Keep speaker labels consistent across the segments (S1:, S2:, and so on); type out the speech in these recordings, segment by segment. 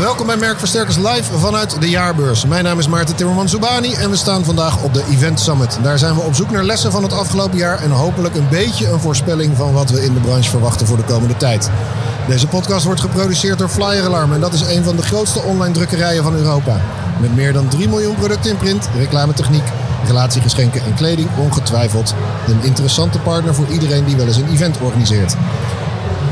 S1: Welkom bij Merkversterkers Live vanuit de jaarbeurs. Mijn naam is Maarten Timmerman Zubani en we staan vandaag op de Event Summit. Daar zijn we op zoek naar lessen van het afgelopen jaar en hopelijk een beetje een voorspelling van wat we in de branche verwachten voor de komende tijd. Deze podcast wordt geproduceerd door Flyer Alarm en dat is een van de grootste online drukkerijen van Europa. Met meer dan 3 miljoen producten in print, reclametechniek, relatiegeschenken en kleding ongetwijfeld een interessante partner voor iedereen die wel eens een event organiseert.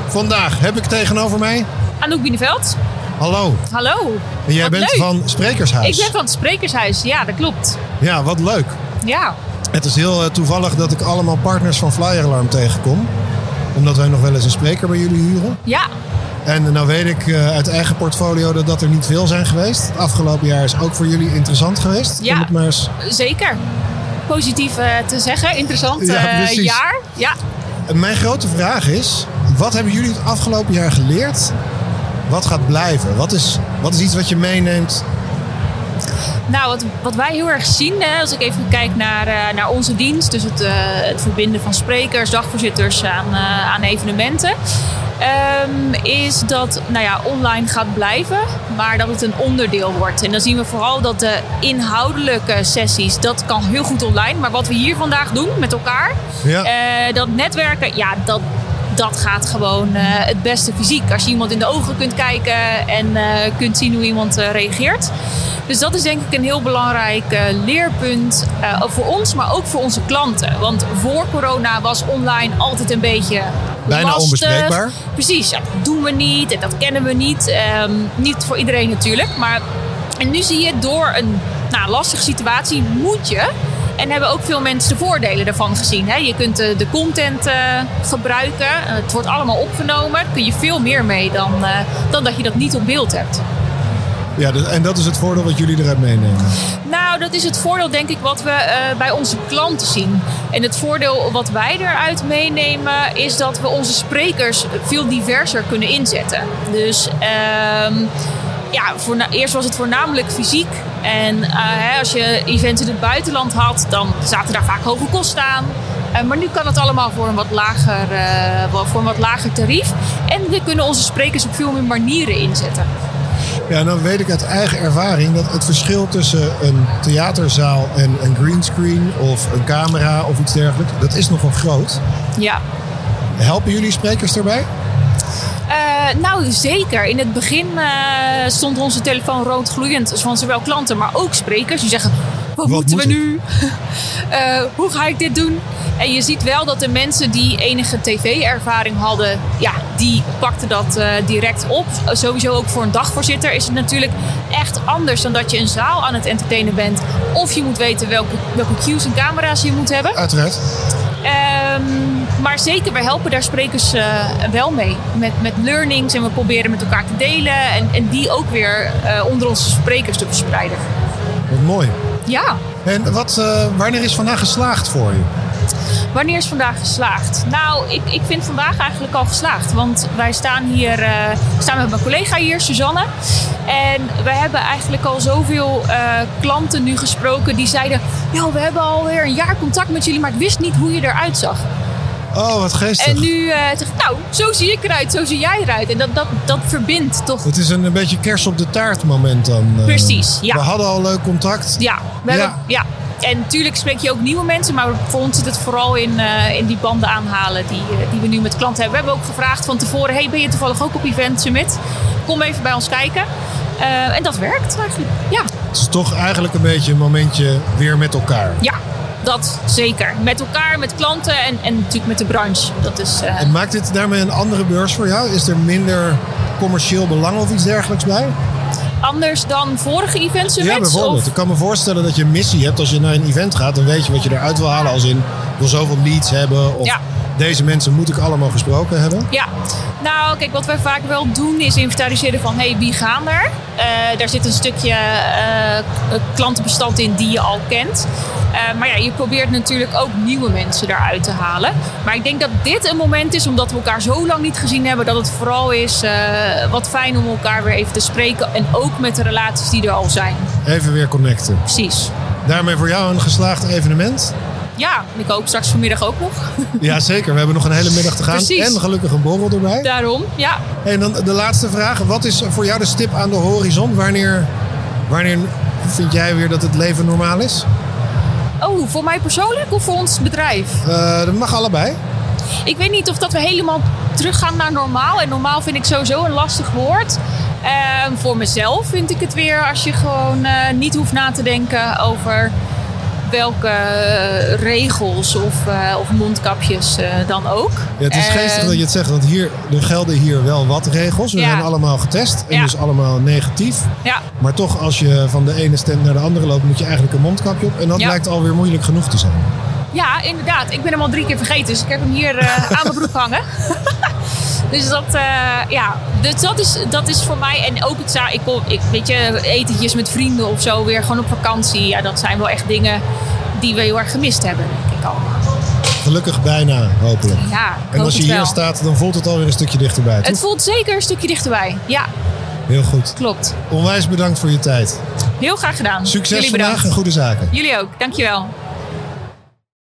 S1: Vandaag heb ik tegenover mij.
S2: Anouk Bienenveld.
S1: Hallo.
S2: Hallo.
S1: En jij
S2: Wat
S1: bent
S2: leuk.
S1: van Sprekershuis.
S2: Ik ben van het Sprekershuis. Ja, dat klopt.
S1: Ja, wat leuk.
S2: Ja.
S1: Het is heel eh, toevallig dat ik allemaal partners van Flyer Alarm tegenkom. Omdat wij nog wel eens een spreker bij jullie huren.
S2: Ja.
S1: En nou weet ik eh, uit eigen portfolio dat, dat er niet veel zijn geweest. Het afgelopen jaar is ook voor jullie interessant geweest.
S2: Ja.
S1: Om het maar eens-
S2: Zeker. Positief eh, te zeggen. Interessant
S1: Ja,
S2: eh,
S1: precies.
S2: jaar. Ja.
S1: En Mijn grote vraag is, wat hebben jullie het afgelopen jaar geleerd? Wat gaat blijven? Wat is, wat is iets wat je meeneemt?
S2: Nou, wat, wat wij heel erg zien, hè, als ik even kijk naar, eh, naar onze dienst, dus het, eh, het verbinden van sprekers, dagvoorzitters aan, eh, aan evenementen, ehm, is dat nou ja, online gaat blijven, maar dat het een onderdeel wordt. En dan zien we vooral dat de inhoudelijke sessies, dat kan heel goed online, maar wat we hier vandaag doen met elkaar,
S1: Ja.
S2: eh, dat netwerken, ja, dat, dat gaat gewoon eh, het beste fysiek. Als je iemand in de ogen kunt kijken en eh, kunt zien hoe iemand eh, reageert. Dus dat is denk ik een heel belangrijk eh, leerpunt eh, voor ons, maar ook voor onze klanten. Want voor corona was online altijd een beetje
S1: Bijna
S2: lastig.
S1: onbespreekbaar.
S2: Precies, ja, dat doen we niet en dat kennen we niet. Ehm, niet voor iedereen natuurlijk, maar en nu zie je door een nou, lastige situatie moet je. En hebben ook veel mensen de voordelen daarvan gezien. Hè? Je kunt eh, de content eh, gebruiken. Eh, Het wordt allemaal opgenomen. Daar kun je veel meer mee dan, eh, dan dat je dat niet op beeld hebt.
S1: Ja, dus- en dat is het voordeel wat jullie eruit meenemen.
S2: Nou, dat is het voordeel denk ik wat we eh, bij onze klanten zien. En het voordeel wat wij eruit meenemen is dat we onze sprekers veel diverser kunnen inzetten. Dus ehm, ja, voorna- eerst was het voornamelijk fysiek. En eh, hè, als je events in het buitenland had, dan zaten daar vaak hoge kosten aan. Eh, maar nu kan het allemaal voor een, wat lager, eh, wel voor een wat lager tarief. En we kunnen onze sprekers op veel meer manieren inzetten.
S1: Ja, dan weet ik uit eigen ervaring dat het verschil tussen een theaterzaal en een greenscreen of een camera of iets dergelijks, dat is nogal groot.
S2: Ja,
S1: Helpen jullie sprekers daarbij?
S2: Eh, nou, zeker. In het begin eh, stond onze telefoon roodgloeiend van zowel klanten, maar ook sprekers. Die zeggen, wat, moeten
S1: moet
S2: we
S1: ik?"
S2: nu? Eh, hoe ga ik dit doen? En je ziet wel dat de mensen die enige tv-ervaring hadden, ja, die pakten dat eh, direct op. Sowieso ook voor een dagvoorzitter is het natuurlijk echt anders dan dat je een zaal aan het entertainen bent. Of je moet weten welke, welke cues en camera's je moet hebben.
S1: Uiteraard.
S2: Ehm, maar zeker, we helpen daar sprekers eh, wel mee. Met, met learnings en we proberen met elkaar te delen. En, en die ook weer eh, onder onze sprekers te verspreiden.
S1: Wat mooi.
S2: Ja,
S1: En wat, eh, wanneer is vandaag geslaagd voor je?
S2: wanneer is vandaag geslaagd? Nou, ik, ik vind vandaag eigenlijk al geslaagd. Want wij staan hier, eh, staan met mijn collega hier, Suzanne. En we hebben eigenlijk al zoveel eh, klanten nu gesproken die zeiden... Nou, we hebben alweer een jaar contact met jullie, maar ik wist niet hoe je eruit zag.
S1: Oh, wat geestig.
S2: En nu eh zeg ik, nou, zo zie ik eruit, zo zie jij eruit. En dat, dat, dat verbindt toch.
S1: Het is een, een beetje kers op de taart moment dan. eh.
S2: Precies, ja.
S1: We hadden al leuk contact.
S2: Ja, we
S1: Ja.
S2: Hebben, ja. En natuurlijk spreek je ook nieuwe mensen, maar voor ons zit het vooral in, eh, in die banden aanhalen die, eh, die we nu met klanten hebben. We hebben ook gevraagd van tevoren: hey, ben je toevallig ook op Event Summit? Kom even bij ons kijken. Eh, en dat werkt eigenlijk. Ja,
S1: Het is toch eigenlijk een beetje een momentje weer met elkaar.
S2: ja, dat zeker. Met elkaar, met klanten en, en natuurlijk met de branche. Dat is. eh,
S1: En maakt dit daarmee een andere beurs voor jou? Is er minder commercieel belang of iets dergelijks bij?
S2: anders dan vorige event summits?
S1: Ja, bijvoorbeeld.
S2: Of-
S1: Ik kan me voorstellen dat je een missie hebt als je naar een event gaat. Dan weet je wat je eruit wil halen. Als in, ik wil zoveel leads hebben. Of
S2: Ja.
S1: deze mensen moet ik allemaal gesproken hebben.
S2: Ja, nou kijk, wat wij vaak wel doen is inventariseren van hey, wie gaan er? Eh, daar zit een stukje eh, klantenbestand in die je al kent. Eh, maar ja, je probeert natuurlijk ook nieuwe mensen daaruit te halen. Maar ik denk dat dit een moment is, omdat we elkaar zo lang niet gezien hebben, dat het vooral is eh, wat fijn om elkaar weer even te spreken. En ook met de relaties die er al zijn.
S1: Even weer connecten.
S2: Precies.
S1: Daarmee voor jou een geslaagd evenement.
S2: ja, ik hoop straks vanmiddag ook nog.
S1: Ja, zeker. We hebben nog een hele middag te gaan.
S2: Precies.
S1: En gelukkig een borrel erbij.
S2: Daarom, ja.
S1: En dan de laatste vraag. Wat is voor jou de stip aan de horizon? Wanneer, wanneer vind jij weer dat het leven normaal is?
S2: Oh, voor mij persoonlijk of voor ons bedrijf?
S1: Eh, dat mag allebei.
S2: Ik weet niet of dat we helemaal teruggaan naar normaal. En normaal vind ik sowieso een lastig woord. Ehm, voor mezelf vind ik het weer als je gewoon eh, niet hoeft na te denken over welke eh, regels of, eh, of mondkapjes eh, dan ook.
S1: Ja, het is
S2: Ehm,
S1: geestig dat je het zegt, want hier, er gelden hier wel wat regels. We
S2: Ja.
S1: zijn allemaal getest en
S2: Ja.
S1: dus allemaal negatief.
S2: Ehm, Ja,
S1: Maar toch, als je van de ene stand naar de andere loopt, moet je eigenlijk een mondkapje op. En dat
S2: Ja.
S1: lijkt alweer moeilijk genoeg te zijn.
S2: ja, inderdaad. Ik ben hem al drie keer vergeten, dus ik heb hem hier eh, aan mijn broek hangen. Dus dat, eh, ja, dus dat, is, dat is voor mij. En ook het za- ik, kom- ik weet je, etentjes met vrienden of zo, weer gewoon op vakantie. Ja, dat zijn wel echt dingen die we heel erg gemist hebben, denk ik allemaal.
S1: Gelukkig bijna, hopelijk.
S2: Ja, ik
S1: En
S2: hoop
S1: als je
S2: het
S1: hier
S2: wel.
S1: staat, dan voelt het alweer een stukje dichterbij.
S2: Het
S1: Toch?
S2: voelt zeker een stukje dichterbij. Ja,
S1: Heel goed.
S2: klopt.
S1: Onwijs bedankt voor je tijd.
S2: Heel graag gedaan.
S1: Succes
S2: Jullie
S1: vandaag
S2: bedankt.
S1: en goede zaken.
S2: Jullie ook, dankjewel.